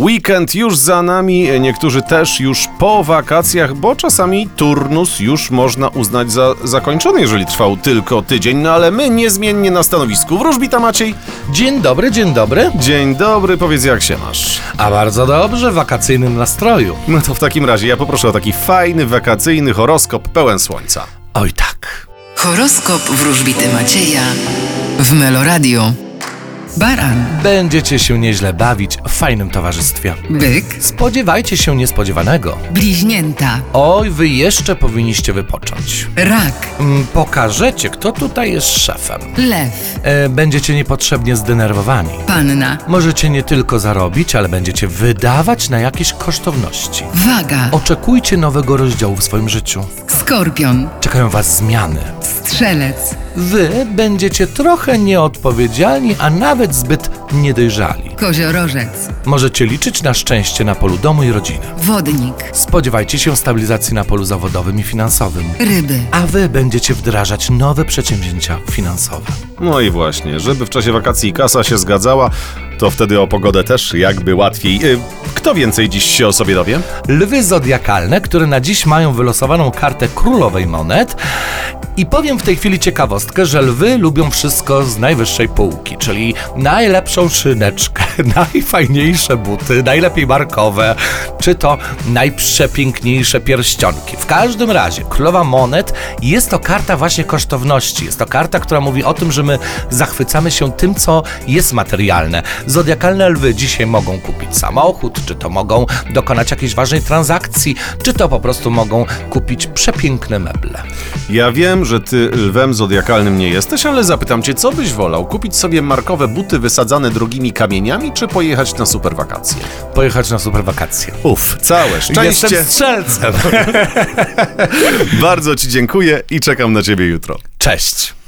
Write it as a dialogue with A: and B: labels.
A: Weekend już za nami, niektórzy też już po wakacjach, bo czasami turnus już można uznać za zakończony, jeżeli trwał tylko tydzień, no ale my niezmiennie na stanowisku. Wróżbita Maciej,
B: Dzień dobry, dzień dobry.
A: dzień dobry, powiedz jak się masz.
B: A bardzo dobrze, w wakacyjnym nastroju.
A: No to w takim razie ja poproszę o taki fajny, wakacyjny horoskop pełen słońca.
B: Oj tak.
C: Horoskop wróżbity Macieja w Meloradio. Baran,
B: Będziecie się nieźle bawić w fajnym towarzystwie.
C: byk,
B: Spodziewajcie się niespodziewanego.
C: bliźnięta,
B: Oj, wy jeszcze powinniście wypocząć.
C: rak,
B: Mm, Pokażecie, kto tutaj jest szefem.
C: lew,
B: E, będziecie niepotrzebnie zdenerwowani.
C: panna,
B: Możecie nie tylko zarobić, ale będziecie wydawać na jakieś kosztowności.
C: waga,
B: Oczekujcie nowego rozdziału w swoim życiu.
C: skorpion,
B: Czekają was zmiany.
C: strzelec,
B: Wy będziecie trochę nieodpowiedzialni, a nawet zbyt niedojrzali.
C: koziorożec,
B: Możecie liczyć na szczęście na polu domu i rodziny.
C: wodnik,
B: Spodziewajcie się stabilizacji na polu zawodowym i finansowym.
C: ryby.
B: A wy będziecie wdrażać nowe przedsięwzięcia finansowe.
A: No i właśnie, żeby w czasie wakacji kasa się zgadzała, to wtedy o pogodę też jakby łatwiej. Y, Kto więcej dziś się o sobie dowie?
B: Lwy zodiakalne, które na dziś mają wylosowaną kartę królowej monet. I powiem w tej chwili ciekawostkę, że lwy lubią wszystko z najwyższej półki, czyli najlepszą szyneczkę, najfajniejsze buty, najlepiej markowe, czy to najprzepiękniejsze pierścionki. W każdym razie, królowa monet jest to karta właśnie kosztowności. Jest to karta, która mówi o tym, że my zachwycamy się tym, co jest materialne. Zodiakalne lwy dzisiaj mogą kupić samochód, czy to mogą dokonać jakiejś ważnej transakcji, czy to po prostu mogą kupić przepiękne meble.
A: Ja wiem, że ty lwem zodiakalnym nie jesteś, ale zapytam cię, co byś wolał? Kupić sobie markowe buty wysadzane drogimi kamieniami, czy pojechać na super wakacje?
B: Pojechać na super wakacje.
A: Uff, całe szczęście.
B: Jestem strzelcem.
A: Bardzo ci dziękuję i czekam na ciebie jutro.
B: Cześć.